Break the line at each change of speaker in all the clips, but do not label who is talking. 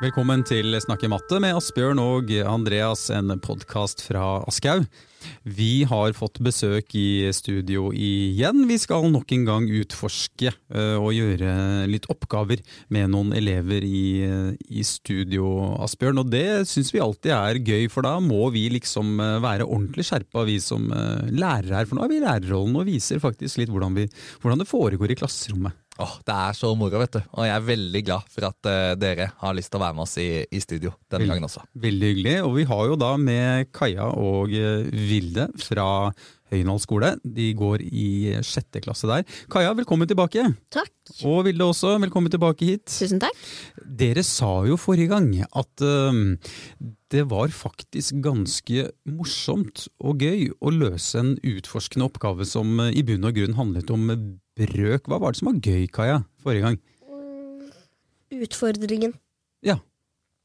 Velkommen til Snakke matte med Asbjørn og Andreas, en podkast fra Aschhaug. Vi har fått besøk i studio igjen. Vi skal nok en gang utforske eh, og gjøre litt oppgaver med noen elever i, eh, i studio, Asbjørn. Og det syns vi alltid er gøy, for da må vi liksom eh, være ordentlig skjerpa, vi som eh, lærere her. For nå er vi i lærerrollen og viser faktisk litt hvordan, vi, hvordan det foregår i klasserommet.
Åh, Det er så moro, vet du. Og jeg er veldig glad for at eh, dere har lyst til å være med oss i, i studio denne gangen også.
Veldig hyggelig. Og vi har jo da med Kaja og eh, Vilde fra Høyendal skole. De går i eh, sjette klasse der. Kaja, velkommen tilbake.
Takk.
Og Vilde også, velkommen tilbake hit.
Tusen takk.
Dere sa jo forrige gang at eh, det var faktisk ganske morsomt og gøy å løse en utforskende oppgave som eh, i bunn og grunn handlet om brøk. Hva var det som var gøy, Kaja, forrige gang?
Utfordringen.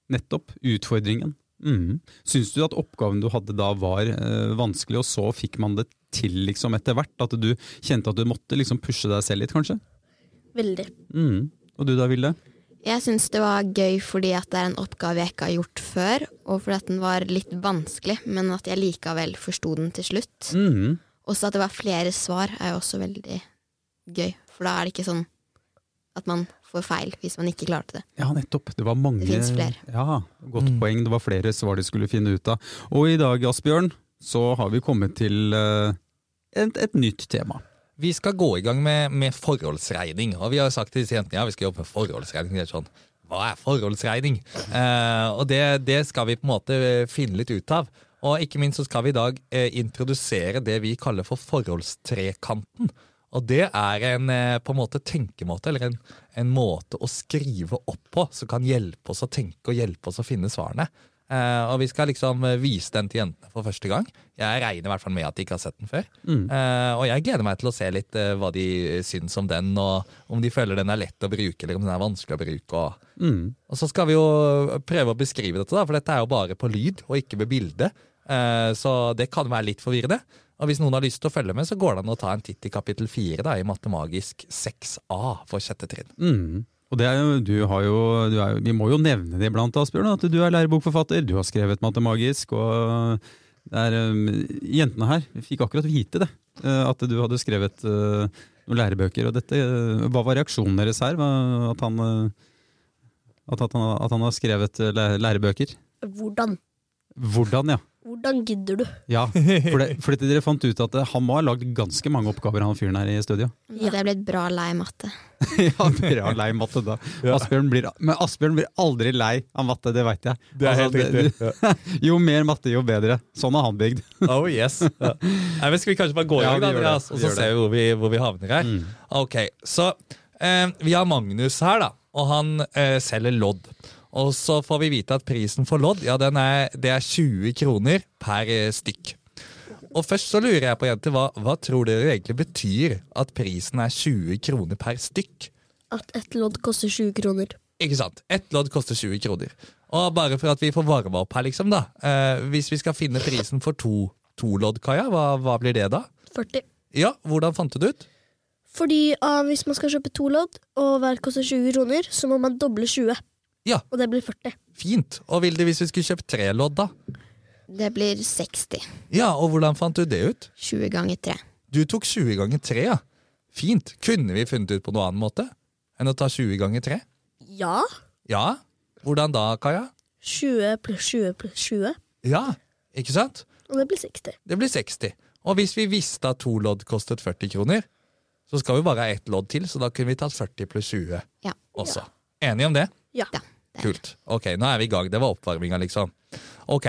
Nettopp. Utfordringen. Mm. Syns du at oppgaven du hadde da var eh, vanskelig, og så fikk man det til liksom etter hvert? At du kjente at du måtte liksom pushe deg selv litt, kanskje?
Veldig.
Mm. Og du da, Vilde?
Jeg syns det var gøy fordi at det er en oppgave jeg ikke har gjort før, og fordi at den var litt vanskelig, men at jeg likevel forsto den til slutt.
Mm.
Også at det var flere svar er jo også veldig gøy, for da er det ikke sånn at man får feil hvis man ikke klarte det.
Ja, nettopp. Det var mange
Det finnes flere.
Ja, Godt poeng. Det var flere svar du skulle finne ut av. Og i dag, Asbjørn, så har vi kommet til eh, et, et nytt tema.
Vi skal gå i gang med, med forholdsregning. Og vi har jo sagt til disse jentene ja, vi skal jobbe med forholdsregning. Det er sånn, Hva er forholdsregning? Eh, og det, det skal vi på en måte eh, finne litt ut av. Og ikke minst så skal vi i dag eh, introdusere det vi kaller for forholdstrekanten. Og det er en eh, på en måte tenkemåte, eller en, en måte å skrive opp på, som kan hjelpe oss å tenke og hjelpe oss å finne svarene. Eh, og vi skal liksom eh, vise den til jentene for første gang. Jeg regner i hvert fall med at de ikke har sett den før. Eh, og jeg gleder meg til å se litt eh, hva de syns om den, og om de føler den er lett å bruke, eller om den er vanskelig å bruke. Og,
Mm.
og så skal vi jo prøve å beskrive dette, da, for dette er jo bare på lyd og ikke med bilde. Eh, så det kan være litt forvirrende. Og hvis noen har lyst til å følge med, så går det an å ta en titt i kapittel 4 da, i Matemagisk 6A for sjette trinn.
Mm. Og det er jo, du har jo, du er, jo- vi må jo nevne det iblant, Asbjørn, at du er lærebokforfatter. Du har skrevet Matemagisk, og det er, um, jentene her fikk akkurat vite det. eh, At du hadde skrevet eh, noen lærebøker. Og dette, eh, hva var reaksjonen deres her? Hva- At han, eh, at, at han, at han har skrevet eh, læ- lærebøker?
Hvordan?
Hvordan, ja.
Hvordan gidder du?
ja for det, fordi dere fant ut at eh, han må ha lagd ganske mange oppgaver, han fyren her i studio.
Men At jeg ble bra lei matte.
Ja, bra lei matte da. Asbjørn blir, men Asbjørn blir aldri lei av matte, det veit jeg. Altså, jo mer matte, jo bedre. Sånn er han bygd.
Oh yes. Ja. Nei, men skal vi kanskje bare gå i
Ja,
gang,
vi
da,
gjør det.
Andreas,
Vi
og så
gjør det. Mm.
ser vi hvor vi, hvor vi havner her? Ok, så eh, vi har Magnus her, da, og han eh, selger lodd. Og så får vi vite at prisen for lodd ja, den er, det er 20 kroner per eh, stykk. Og først så lurer jeg på, jenter, hva, hva tror dere egentlig betyr at prisen er 20 kroner per stykk?
At ett lodd koster 20 kroner.
Ikke sant? Ett lodd koster 20 kroner. Og bare for at vi får varme opp her, liksom, da. Eh, hvis vi skal finne prisen for to, to lodd, Kaja, hva, hva blir det da?
40.
Ja, hvordan fant du det ut?
Fordi ah, hvis man skal kjøpe to lodd, og hver koster 20 kroner, så må man doble 20.
Ja.
Og det blir 40.
Fint. Og Vilde, hvis vi skulle kjøpt tre lodd, da?
Det blir 60.
Ja, og hvordan fant du det ut?
20 ganger 3.
Du tok 20 ganger 3, ja. Fint. Kunne vi funnet ut på noen annen måte enn å ta 20 ganger 3?
Ja.
Ja. Hvordan da, Kaja?
20 pluss 20 pluss 20.
Ja, ikke sant?
Og det blir 60.
Det blir 60. Og hvis vi visste at to lodd kostet 40 kroner, så skal vi bare ha ett lodd til, så da kunne vi tatt 40 pluss 20
Ja.
også. Enige om det?
Ja.
Ja. det er det.
Kult. Ok, nå er vi i gang. Det var oppvarminga, liksom. Ok,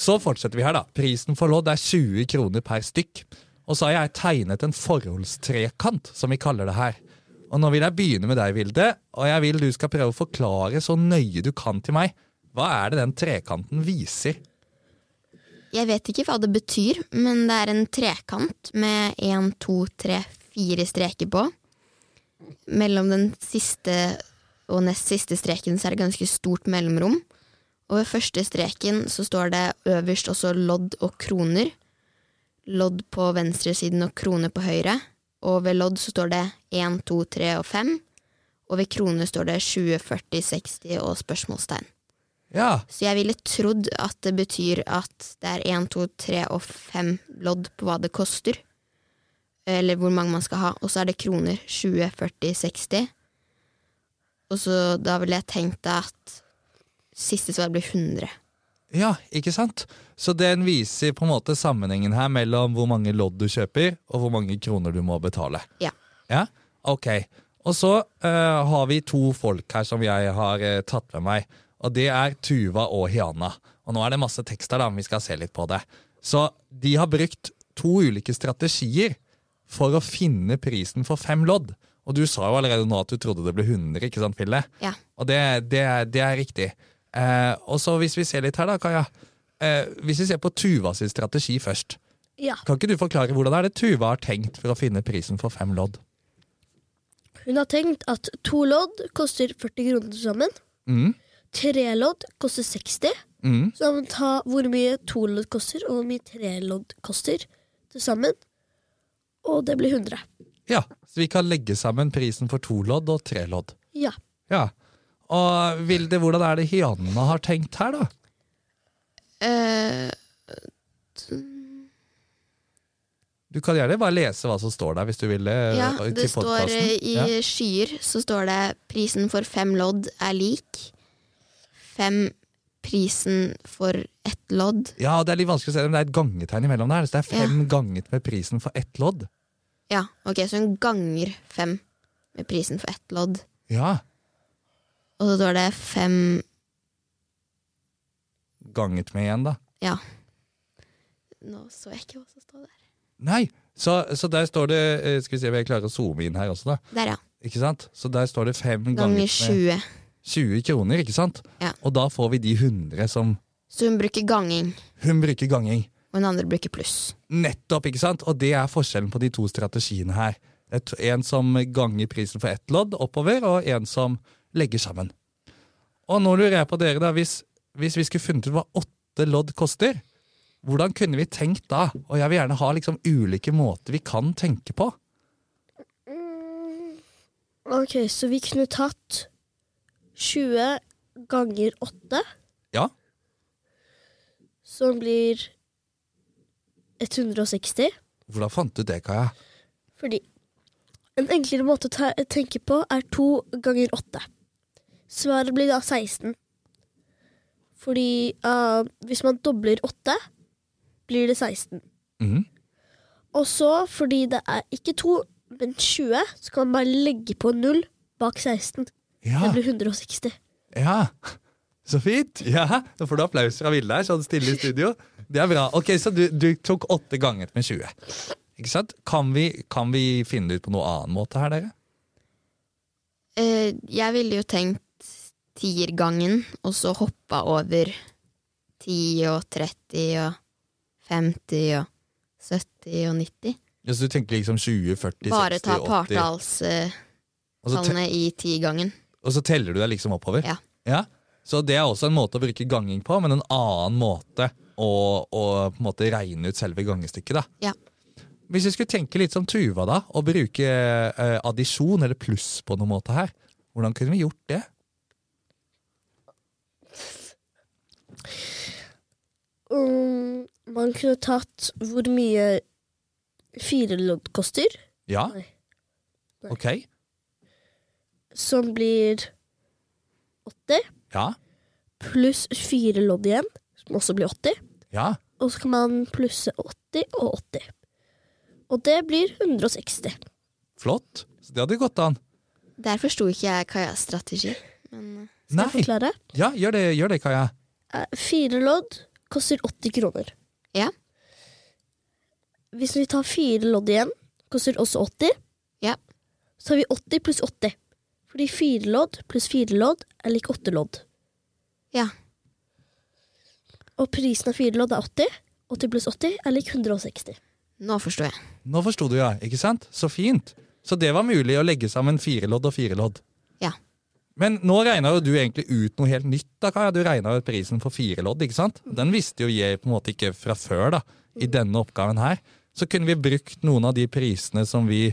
så fortsetter vi her, da. Prisen for lodd er 20 kroner per stykk. Og så har jeg tegnet en forholdstrekant, som vi kaller det her. Og nå vil jeg begynne med deg, Vilde, og jeg vil du skal prøve å forklare så nøye du kan til meg. Hva er det den trekanten viser?
Jeg vet ikke hva det betyr, men det er en trekant med én, to, tre, fire streker på. Mellom den siste og nest siste streken så er det ganske stort mellomrom. Og ved første streken så står det øverst også lodd og kroner. Lodd på venstresiden og krone på høyre. Og ved lodd så står det 1, 2, 3 og 5. Og ved krone står det 20, 40, 60 og spørsmålstegn.
Ja.
Så jeg ville trodd at det betyr at det er én, to, tre og fem lodd på hva det koster. Eller hvor mange man skal ha. Og så er det kroner. 20, 40, 60. Og så da ville jeg tenkt at siste svar blir 100.
Ja, ikke sant? Så den viser på en måte sammenhengen her mellom hvor mange lodd du kjøper, og hvor mange kroner du må betale.
Ja.
Ja, ok. Og så eh, har vi to folk her som jeg har eh, tatt med meg. Og det er Tuva og Hiana. Og nå er det masse tekst her, da, men vi skal se litt på det. Så de har brukt to ulike strategier for å finne prisen for fem lodd. Og du sa jo allerede nå at du trodde det ble 100, ikke sant, Fille?
Ja.
Og det, det, er- det er riktig. Eh, og så hvis vi ser litt her da, Kaja. Eh, hvis vi ser på Tuva sin strategi først.
Ja.
Kan ikke du forklare hvordan er det Tuva har tenkt for å finne prisen for fem lodd?
Hun har tenkt at to lodd koster 40 kroner til sammen.
Mm,
Tre lodd koster 60.
mm,
Så da må man ta hvor mye to lodd koster, og hvor mye tre lodd koster til sammen. Og det blir 100.
ja, så vi kan legge sammen prisen for to lodd og tre lodd.
Ja.
Ja. Og Vilde, hvordan er det Hianna har tenkt her, da?
Eh,
Du kan gjerne bare lese hva som står der, hvis du vil. eh,
ja,
til
det står
podcasten.
eh, i
Ja.
skyer, så står det prisen for fem lodd er lik. Fem prisen for ett lodd.
Ja, det er litt vanskelig å se det, men det er et gangetegn imellom der. Så det er fem ganget med prisen for ett lodd.
Ja, ok, så hun ganger fem med prisen for ett lodd.
Ja,
Og så står det fem
ganget med igjen, da.
Ja. Nå så jeg ikke hva som står der.
Nei, så, så der står det eh, Skal vi se om jeg klarer å zoome inn her også, da.
Der, ja.
Ikke sant? Så der står det fem
Ganger
ganget med
20.
20 kroner, ikke sant?
Ja.
Og da får vi de 100 som
Så hun bruker ganging,
Hun bruker ganging.
og den andre bruker pluss.
Nettopp, ikke sant? Og det er forskjellen på de to strategiene her. Det er to- En som ganger prisen for ett lodd oppover, og en som legger sammen. Og nå lurer jeg på dere, da. Hvis, hvis vi skulle funnet ut hva åtte lodd koster, hvordan kunne vi tenkt da? Og jeg vil gjerne ha liksom ulike måter vi kan tenke på.
Ok, så vi kunne tatt 20 ganger 8,
Ja,
som blir 160.
hvordan fant du det, Kaja?
Fordi en enklere måte å ta- tenke på er 2 ganger 8. Svaret blir da 16. Fordi eh, hvis man dobler 8, blir det 16.
Mhm.
Og så, fordi det er ikke 2, men 20, så kan man bare legge på 0 bak 16. Det
Ja,
blir 160.
ja. Så fint! Ja, Da får du applaus fra Vilde her, sånn stille i studio. Det er bra. Ok, Så du, du tok åtte ganget med 20. Ikke sant? Kan vi, kan vi finne det ut på noen annen måte her, dere?
Eh, jeg ville jo tenkt tiergangen, og så hoppa over 10 og 30 og 50 og 70 og 90.
Ja, så du tenker liksom 20, 40,
Bare
60,
ta
80
partallstallene
og så, Altså, te
i tiergangen.
og så teller du deg liksom oppover?
Ja.
Så det er også en måte å bruke ganging på, men en annen måte å, å på en måte regne ut selve gangestykket, da.
Ja.
Hvis vi skulle tenke litt som Tuva, da, og bruke eh, addisjon eller pluss på noen måte her, hvordan kunne vi gjort det?
Um, man kunne tatt hvor mye fire lodd koster,
Ja?
Nei. Nei.
Ok.
som blir 80,
Ja.
pluss fire lodd igjen, som også blir 80.
Ja.
Og så kan man plusse 80 og 80. Og det blir 160.
Flott. Så det hadde gått an.
Der forsto ikke jeg Kajas strategi. Men eh,
Skal jeg
Nei.
forklare?
Ja, gjør det, gjør det Kaja.
Eh, Fire lodd koster 80 kroner.
Ja.
Hvis vi tar fire lodd igjen, koster også 80.
Ja.
Så har vi 80 pluss 80. Fordi fire lodd pluss fire lodd er lik åtte lodd.
ja.
Og prisen av fire lodd er 80. 80 pluss 80 er lik 160.
Nå forsto jeg.
Nå forsto du, ja. Ikke sant? Så fint. Så det var mulig å legge sammen fire lodd og fire lodd.
Ja.
Men nå regna jo du egentlig ut noe helt nytt. da, Kaja. Du regna ut prisen for fire lodd. ikke sant? Den visste jo jeg på en måte ikke fra før da, i
Mm.
denne oppgaven her. Så kunne vi brukt noen av de prisene som vi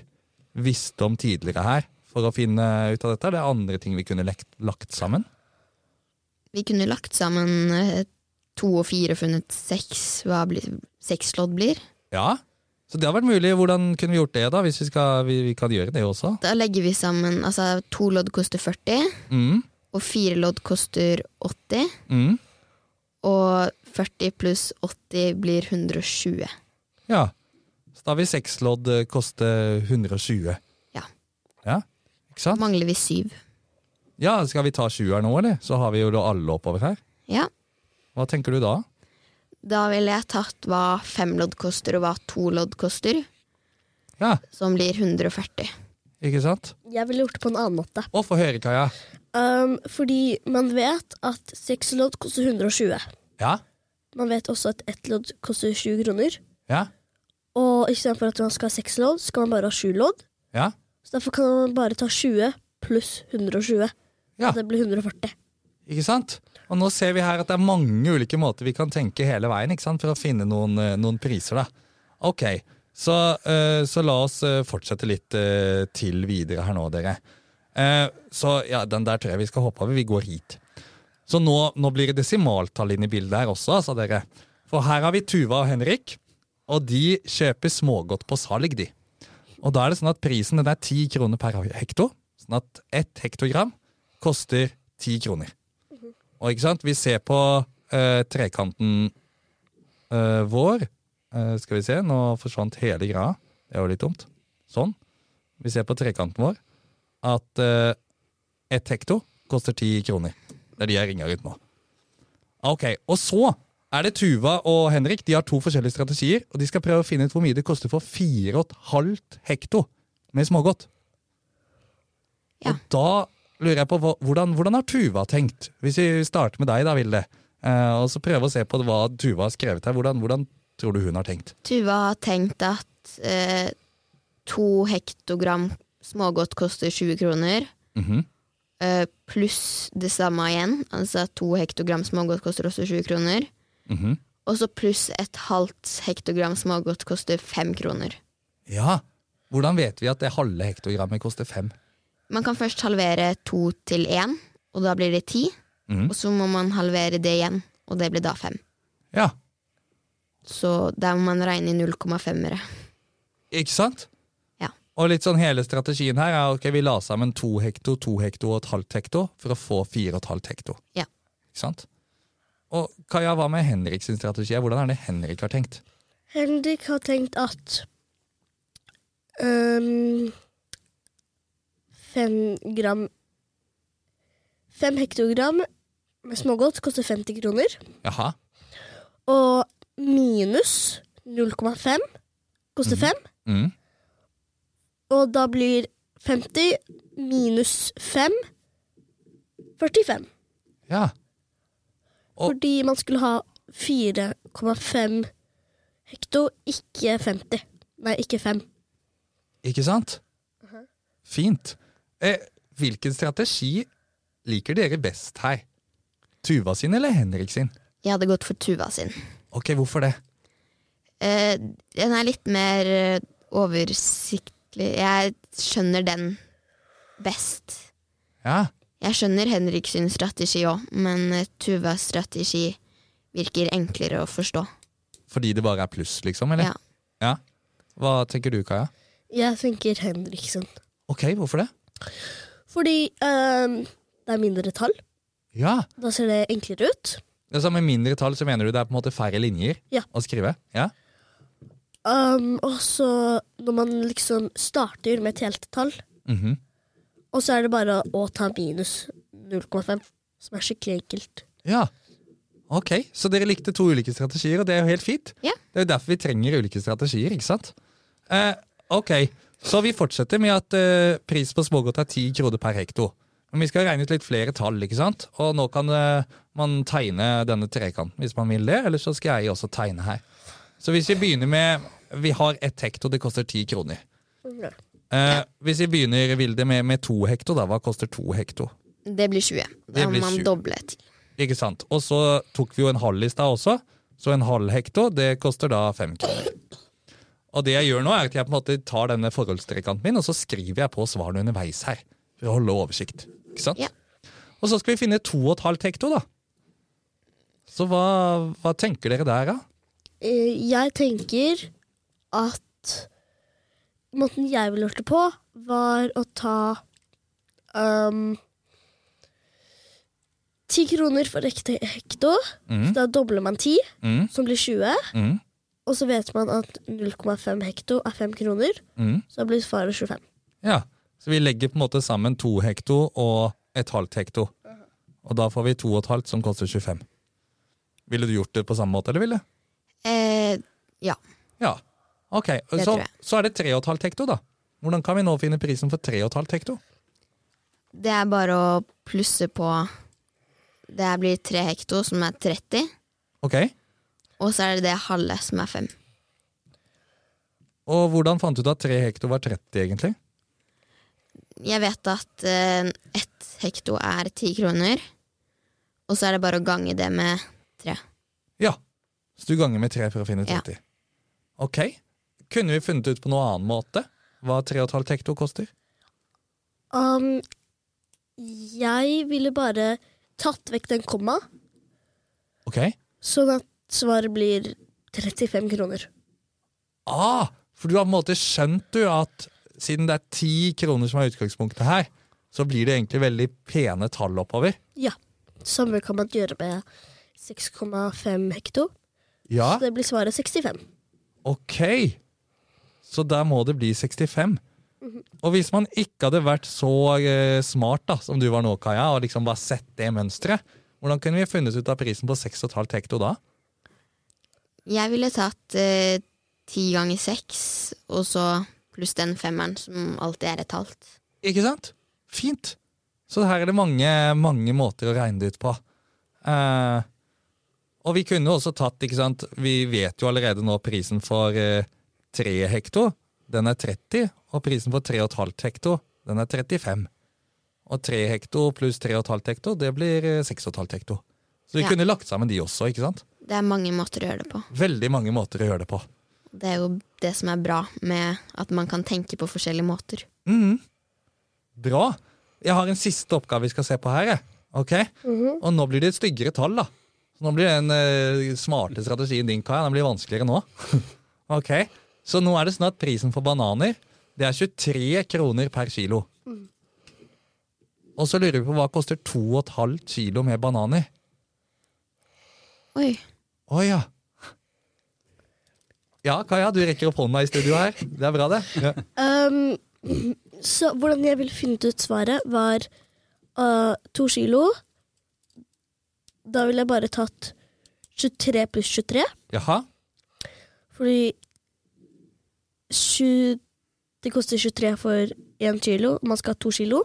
visste om tidligere her, for å finne ut av dette. Det er andre ting vi kunne lekt, lagt sammen.
Vi kunne lagt sammen eh, to og fire og funnet seks, hva blir, seks lodd blir.
Ja, så det har vært mulig. Hvordan kunne vi gjort det, da? Hvis vi, skal, vi, vi kan gjøre det også.
Da legger vi sammen altså to lodd koster 40,
Mm,
og fire lodd koster 80.
mm,
Og 40 pluss 80 blir 120.
ja. Så da vil seks lodd eh, koste 120.
Ja.
Ja, ikke sant?
Mangler vi syv.
Ja, skal vi ta sjuer nå, eller? Så har vi jo da alle oppover her.
Ja.
Hva tenker du da?
Da ville jeg tatt hva fem lodd koster, og hva to lodd koster,
Ja,
som blir 140.
ikke sant?
Jeg ville gjort det på en annen måte.
Å, få høre, Kaja.
Um, fordi man vet at seks lodd koster 120.
Ja,
Man vet også at ett lodd koster 20 kroner.
ja,
Og istedenfor at man skal ha seks lodd, skal man bare ha sju lodd.
ja.
Så derfor kan man bare ta 20 pluss 120.
Ja.
Og det blir 140.
Ikke sant? Og nå ser vi her at det er mange ulike måter vi kan tenke hele veien ikke sant? for å finne noen, eh, noen priser. da. Ok, så, eh, så la oss eh, fortsette litt eh, til videre her nå, dere. Eh, så ja, den der tror jeg vi skal hoppe over. Vi går hit. Så nå, nå blir det desimaltall inn i bildet her også, altså, dere. For her har vi Tuva og Henrik, og de kjøper smågodt på salg, de. Og da er det sånn at prisen den er 10 kroner per hekto. Sånn at ett hektogram koster 10 kroner. Og ikke sant, vi ser på eh, trekanten eh, vår. Eh, skal vi se, nå forsvant hele greia. Det er jo litt dumt. Sånn. Vi ser på trekanten vår at uh, ett hekto koster ti kroner. Det er de jeg ringer ut nå. Ok, Og så er det Tuva og Henrik. De har to forskjellige strategier. Og de skal prøve å finne ut hvor mye det koster for fire og et halvt hekto med smågodt.
Ja.
Og da lurer jeg på hva- hvordan, hvordan har Tuva tenkt? Hvis vi starter med deg, da, Vilde. eh, og så prøve å se på hva Tuva har skrevet her. Hvordan, hvordan tror du hun har tenkt?
Tuva har tenkt at eh, to hektogram smågodt koster 20 kroner,
Mhm.
eh, pluss det samme igjen. Altså to hektogram smågodt koster også 20 kroner.
Mhm.
Og så pluss et halvt hektogram smågodt koster fem kroner.
Ja, Hvordan vet vi at det halve hektogrammet koster fem?
Man kan først halvere to til én, og da blir det ti.
Mhm.
Og så må man halvere det igjen, og det blir da fem.
Ja,
Så der må man regne i 0,5-ere.
Ikke sant?
Ja.
Og litt sånn hele strategien her er ok, vi la sammen to hekto, to hekto og et halvt hekto for å få fire og et halvt hekto.
Ja.
Ikke sant? Og Kaja, hva med Henrik sin strategi? Hvordan er det Henrik har tenkt?
Henrik har tenkt at um, fem gram Fem hektogram med smågodt koster 50 kroner.
Jaha.
Og minus 0,5 koster 5.
Mm.
Og da blir 50 minus 5 45.
Ja. Og-
Fordi man skulle ha 4,5 hekto, ikke 50. Nei, ikke 5.
Ikke sant? Fint. Eh, hvilken strategi liker dere best her? Tuva sin eller Henrik sin?
Jeg hadde gått for Tuva sin.
Ok, hvorfor det?
Eh, den er litt mer eh, oversiktlig. Jeg skjønner den best.
Ja.
Jeg skjønner Henrik sin strategi òg, men eh, Tuvas strategi virker enklere å forstå.
Fordi det bare er pluss, liksom? Eller?
Ja.
ja. Hva tenker du, Kaja?
Jeg tenker Henriksen.
Ok, hvorfor det?
Fordi ehm, det er mindre tall.
Ja.
Da ser det enklere ut.
Altså Med mindre tall så mener du det er på en måte færre linjer
Ja.
å skrive? Ja.
Ehm, og så når man liksom starter med et helt tall,
Mhm.
og så er det bare å ta minus 0,5, som er skikkelig enkelt.
ja. Ok, Så dere likte to ulike strategier, og det er jo helt fint.
Ja.
Det er jo derfor vi trenger ulike strategier, ikke sant? Eh, ok, Så vi fortsetter med at eh, pris på smågodt er 10 kroner per hekto. Men vi skal regne ut litt flere tall, ikke sant? Og nå kan eh, man tegne denne trekanten hvis man vil det. Eller så skal jeg også tegne her. Så hvis vi begynner med Vi har ett hekto, det koster 10 kroner. Eh, hvis vi begynner Vilde, med, med to hekto, da, hva koster to hekto?
Det blir 20.
Det
Da må
blir
man
20.
doble ti.
Ikke sant? Og så tok vi jo en halv i stad også, så en halv hekto det koster da fem kroner. Og det jeg gjør nå er at jeg på en måte tar denne forholdstrekanten min, og så skriver jeg på svarene underveis her. For å holde oversikt. Ikke sant?
Ja.
Og så skal vi finne to og et halvt hekto, da. Så hva, hva tenker dere der, da?
Eh, Jeg tenker at måten jeg ville gjort det på, var å ta ehm, 10 kroner for ekte hekto.
Mm,
Da dobler man 10,
mm,
som blir 20.
mm,
Og så vet man at 0,5 hekto er 5 kroner,
mm.
så da blir svaret 25.
Ja, så vi legger på en måte sammen to hekto og et halvt hekto. Og da får vi to og et halvt som koster 25. Ville du gjort det på samme måte, eller ville?
Eh,
Ja. Ok,
Det
så,
tror jeg.
så er det tre og et halvt hekto, da. Hvordan kan vi nå finne prisen for tre og et halvt hekto?
det er bare å plusse på Det blir tre hekto, som er 30,
Ok,
og så er det det halve, som er 5.
og hvordan fant du ut at tre hekto var 30, egentlig?
Jeg vet at eh, ett hekto er 10 kroner, og så er det bare å gange det med tre.
Ja, så du ganger med tre for å finne
Ja.
30. Ok, kunne vi funnet ut på noen annen måte hva tre og et halvt hekto koster?
Um, jeg ville bare tatt vekk den komma,
Ok,
sånn at svaret blir 35 kroner.
Ah, for du har på en måte skjønt du at siden det er ti kroner som er utgangspunktet her, så blir det egentlig veldig pene tall oppover.
Ja. Samme kan man gjøre med 6,5 hekto.
Ja,
Så det blir svaret 65.
ok. Så der må det bli 65. Og hvis man ikke hadde vært så eh, smart da, som du var nå, Kaja, og liksom bare sett det mønsteret, hvordan kunne vi funnet ut av prisen på 6,5 hekto da?
Jeg ville tatt eh, 10 ganger 6, og så pluss den femmeren, som alltid er et halvt.
Ikke sant? Fint. Så her er det mange, mange måter å regne det ut på. Eh, og vi kunne også tatt, ikke sant, vi vet jo allerede nå prisen for eh, 3 hekto, den er 30, og prisen for 3,5 hekto, den er 35. Og 3 hekto pluss 3,5 hekto, det blir eh, 6,5 hekto. Så vi
Ja.
kunne lagt sammen de også, ikke sant?
Det er mange måter å gjøre det på.
Veldig mange måter å gjøre det på.
Det er jo det som er bra med at man kan tenke på forskjellige måter.
Mhm. Bra. Jeg har en siste oppgave vi skal se på her. jeg. Ok? Og nå blir det et styggere tall, da. Så nå blir den eh, smarte strategien din Kaja, den blir vanskeligere nå. ok? Så nå er det sånn at prisen for bananer det er 23 kroner per kilo. Og så lurer vi på hva koster 2,5 kilo med bananer?
Oi.
Å ja. Ja, Kaja, du rekker opp hånda i studio her. Det er bra, det. Ja.
Um, så hvordan jeg ville funnet ut svaret, var uh, to kilo. Da ville jeg bare tatt 23 pluss 23,
Jaha.
fordi tju- det koster 23 for én kilo, og man skal ha to kilo.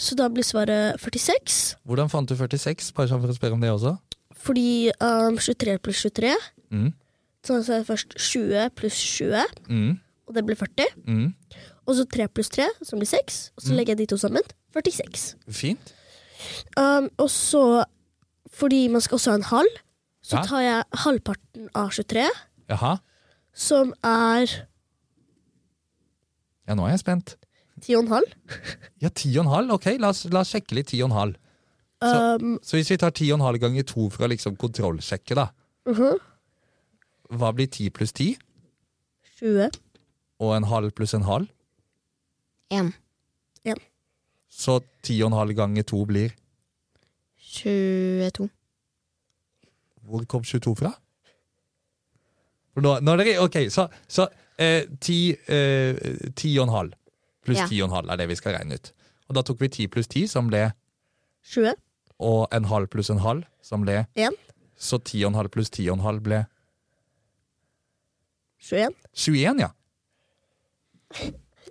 Så da blir svaret 46,
Hvordan fant du 46? Bare sånn for å spørre om det også.
fordi um, 23 pluss 23
Mm.
Så så er det først 20 pluss 20,
Mm.
og det blir 40.
Mm.
Og så 3 pluss 3, som blir 6. Og så legger jeg de to sammen. 46.
Fint.
Um, og så, fordi man skal også ha en halv, så
Ja.
tar jeg halvparten av 23,
Jaha.
som er
Ja, nå er jeg spent.
10,5.
Ja, ti og en halv. Ok, la oss, la oss sjekke litt ti og en halv. Så-
Um,
Så hvis vi tar ti og en halv ganger to for å liksom kontrollsjekke, da.
mhm,
Hva blir ti pluss ti?
20.
Og en halv pluss en halv?
En.
Så ti og en halv ganger to blir
22.
Hvor kom 22 fra? For Nå, nå er dere, ok, så, så eh, ti, eh, ti og en halv pluss
Ja.
ti og en halv er det vi skal regne ut. Og da tok vi ti pluss ti, som ble
20.
Og en halv pluss en halv, som ble
En.
Så ti og en halv pluss ti og en halv ble
21.
21, ja.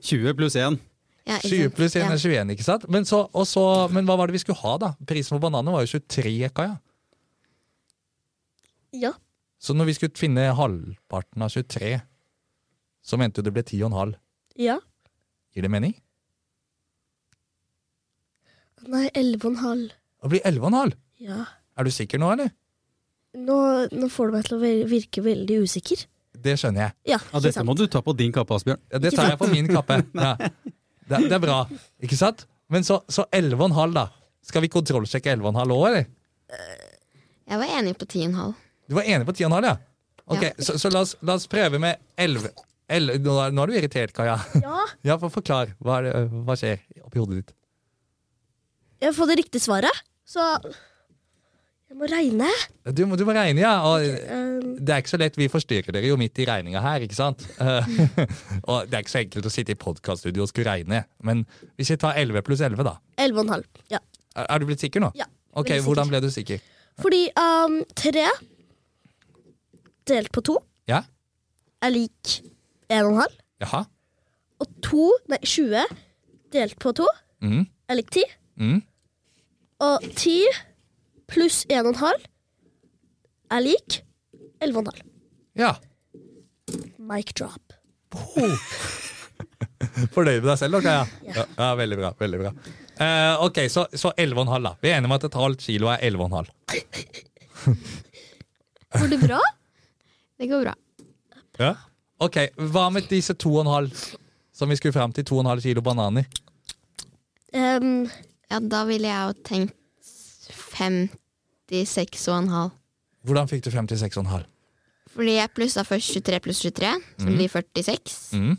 20 pluss 1.
Ja, ikke
20
sant?
pluss 1
Ja.
er 21, ikke sant? Men, så, og så, men hva var det vi skulle ha, da? Prisen for bananer var jo 23, Kaja.
Ja.
Så når vi skulle finne halvparten av 23, så mente du det ble 10,5.
Ja.
Gir det mening?
Nei, 11,5.
Det blir 11,5.
Ja.
Er du sikker nå, eller?
Nå, nå får du meg til å ve- virke veldig usikker.
Det skjønner jeg.
Ja,
Ja,
ikke
dette
sant?
må du ta på din kappe, Asbjørn.
Ja, Det
Ikke
tar jeg på min kappe. Ja. Det, det er bra, ikke sant? Men så, så 11,5, da. Skal vi kontrollsjekke 11,5 òg, eller?
Jeg var enig på 10,5.
Du var enig på 10,5, ja? Ok,
Ja.
Så, så la, oss, la oss prøve med 11. Elleve- nå, er, nå er du irritert, Kaja.
Ja,
Ja, for Forklar. Hva, er det, øh, hva skjer oppi hodet ditt?
jeg har fått det riktige svaret, så jeg må regne.
Du, må- du må regne, ja. Og
Um,
det er ikke så lett. Vi forstyrrer dere jo midt i regninga her, ikke sant? Eh, og det er ikke så enkelt å sitte i podkaststudio og skulle regne. Men hvis jeg tar 11 pluss 11, da.
11,5. Ja.
Er, er du blitt sikker nå?
Ja,
Ok,
veldig sikker.
Hvordan ble du sikker?
Fordi um, tre delt på to
Ja?
er lik 1,5.
Jaha?
Og to, nei, 20 delt på to
Mm.
er lik 10.
Mm.
Og 10 pluss 1,5 er lik 11,5.
Ja.
Mic drop.
Fornøyd med deg selv, da, Kaja?
Ja.
Ja. ja, veldig bra. veldig bra. Eh, ok, Så, så 11,5, da. Vi er enige om at et halvt kilo er 11,5.
Går det bra?
Det går bra.
Ja. Ok, Hva med disse 2,5 som vi skulle fram til? 2,5 kilo bananer?
Um,
Ja, da ville jeg jo tenkt 56,5.
Hvordan fikk du frem til 6,5?
Fordi jeg plussa først 23 pluss 23, som blir 46.
Mm.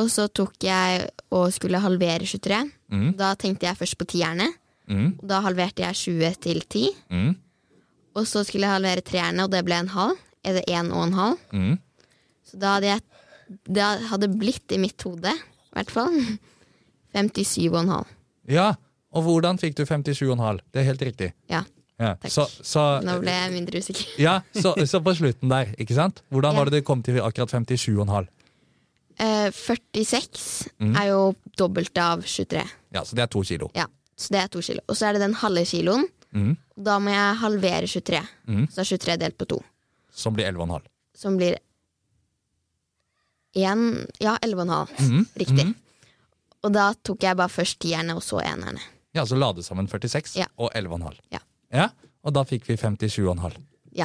Og så tok jeg og skulle halvere 23.
Mm.
Da tenkte jeg først på tierne.
Mm.
og Da halverte jeg 20 til 10.
Mm.
Og så skulle jeg halvere treerne, og det ble en halv. Eller en og en halv.
Mm.
Så da hadde jeg Det hadde blitt i mitt hode, i hvert fall, 57,5.
Ja, og hvordan fikk du 57,5? Det er helt riktig.
Ja.
Ja.
Takk.
Så, så,
Nå ble jeg mindre usikker.
ja, så, så på slutten der, ikke sant? Hvordan
Ja.
var det det kom til akkurat 57,5?
Eh, 46
Mm.
er jo dobbelt av 23.
Ja, så det er to kilo.
Ja, så det er to kilo. Og så er det den halve kiloen.
Mm.
Da må jeg halvere 23.
Mm.
Så er 23 delt på to.
Som blir 11,5.
Som blir én Ja, 11,5.
Mhm.
Riktig. Og da tok jeg bare først tierne, og så enerne.
Ja, så la det sammen 46
Ja.
og 11,5.
Ja.
Ja, og da fikk vi 57,5.
Ja.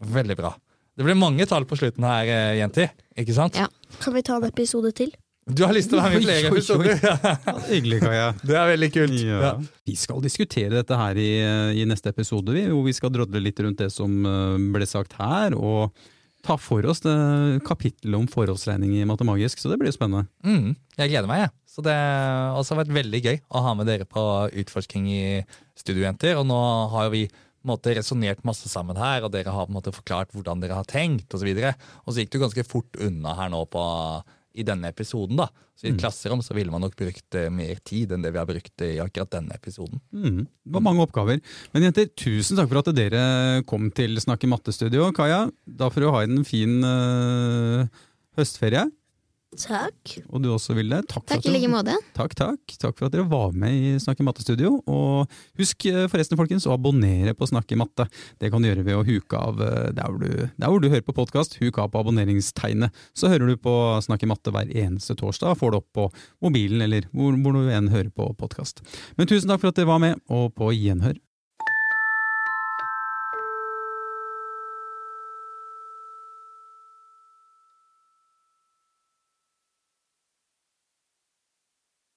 Veldig bra. Det ble mange tall på slutten her, eh, jenter. Ikke sant?
Ja.
kan vi ta en episode til?
Du har lyst til å være med
Oi,
i
oi,
flere
oi.
episoder! Ja,
Ja, det er hyggelig, Kaja.
Det er veldig kult. Ja.
Ja. Vi skal diskutere dette her i, i neste episode, vi, hvor vi skal drodle litt rundt det som eh, ble sagt her, og ta for oss det kapittelet om forholdsregning i matemagisk, så det blir jo spennende.
Mm, jeg gleder meg, jeg. Så det har også vært veldig gøy å ha med dere på utforsking i Studiojenter. Og nå har jo vi på en måte resonnert masse sammen her, og dere har på en måte forklart hvordan dere har tenkt osv. Og, så gikk det jo ganske fort unna her nå på, i denne episoden, da. Så i et klasserom så ville man nok brukt eh, mer tid enn det vi har brukt eh, i akkurat denne episoden.
Mm, det var mange oppgaver. Men jenter, tusen takk for at dere kom til Snakke matte-studio. Kaja, da får du ha en fin eh, høstferie,
Takk.
og du også, Vilde. Takk, for at
Takk i
dere-
like måte.
Takk, takk. Takk for at dere var med i Snakke matte-studio. Og husk eh, forresten, folkens, å abonnere på Snakke matte. Det kan du gjøre ved å huke av eh, der hvor du, der hvor du hører på podkast. Huk av på abonneringstegnet. Så hører du på Snakke matte hver eneste torsdag. Får det opp på mobilen eller hvor, hvor du enn hører på podkast. Men tusen takk for at dere var med, og på gjenhør.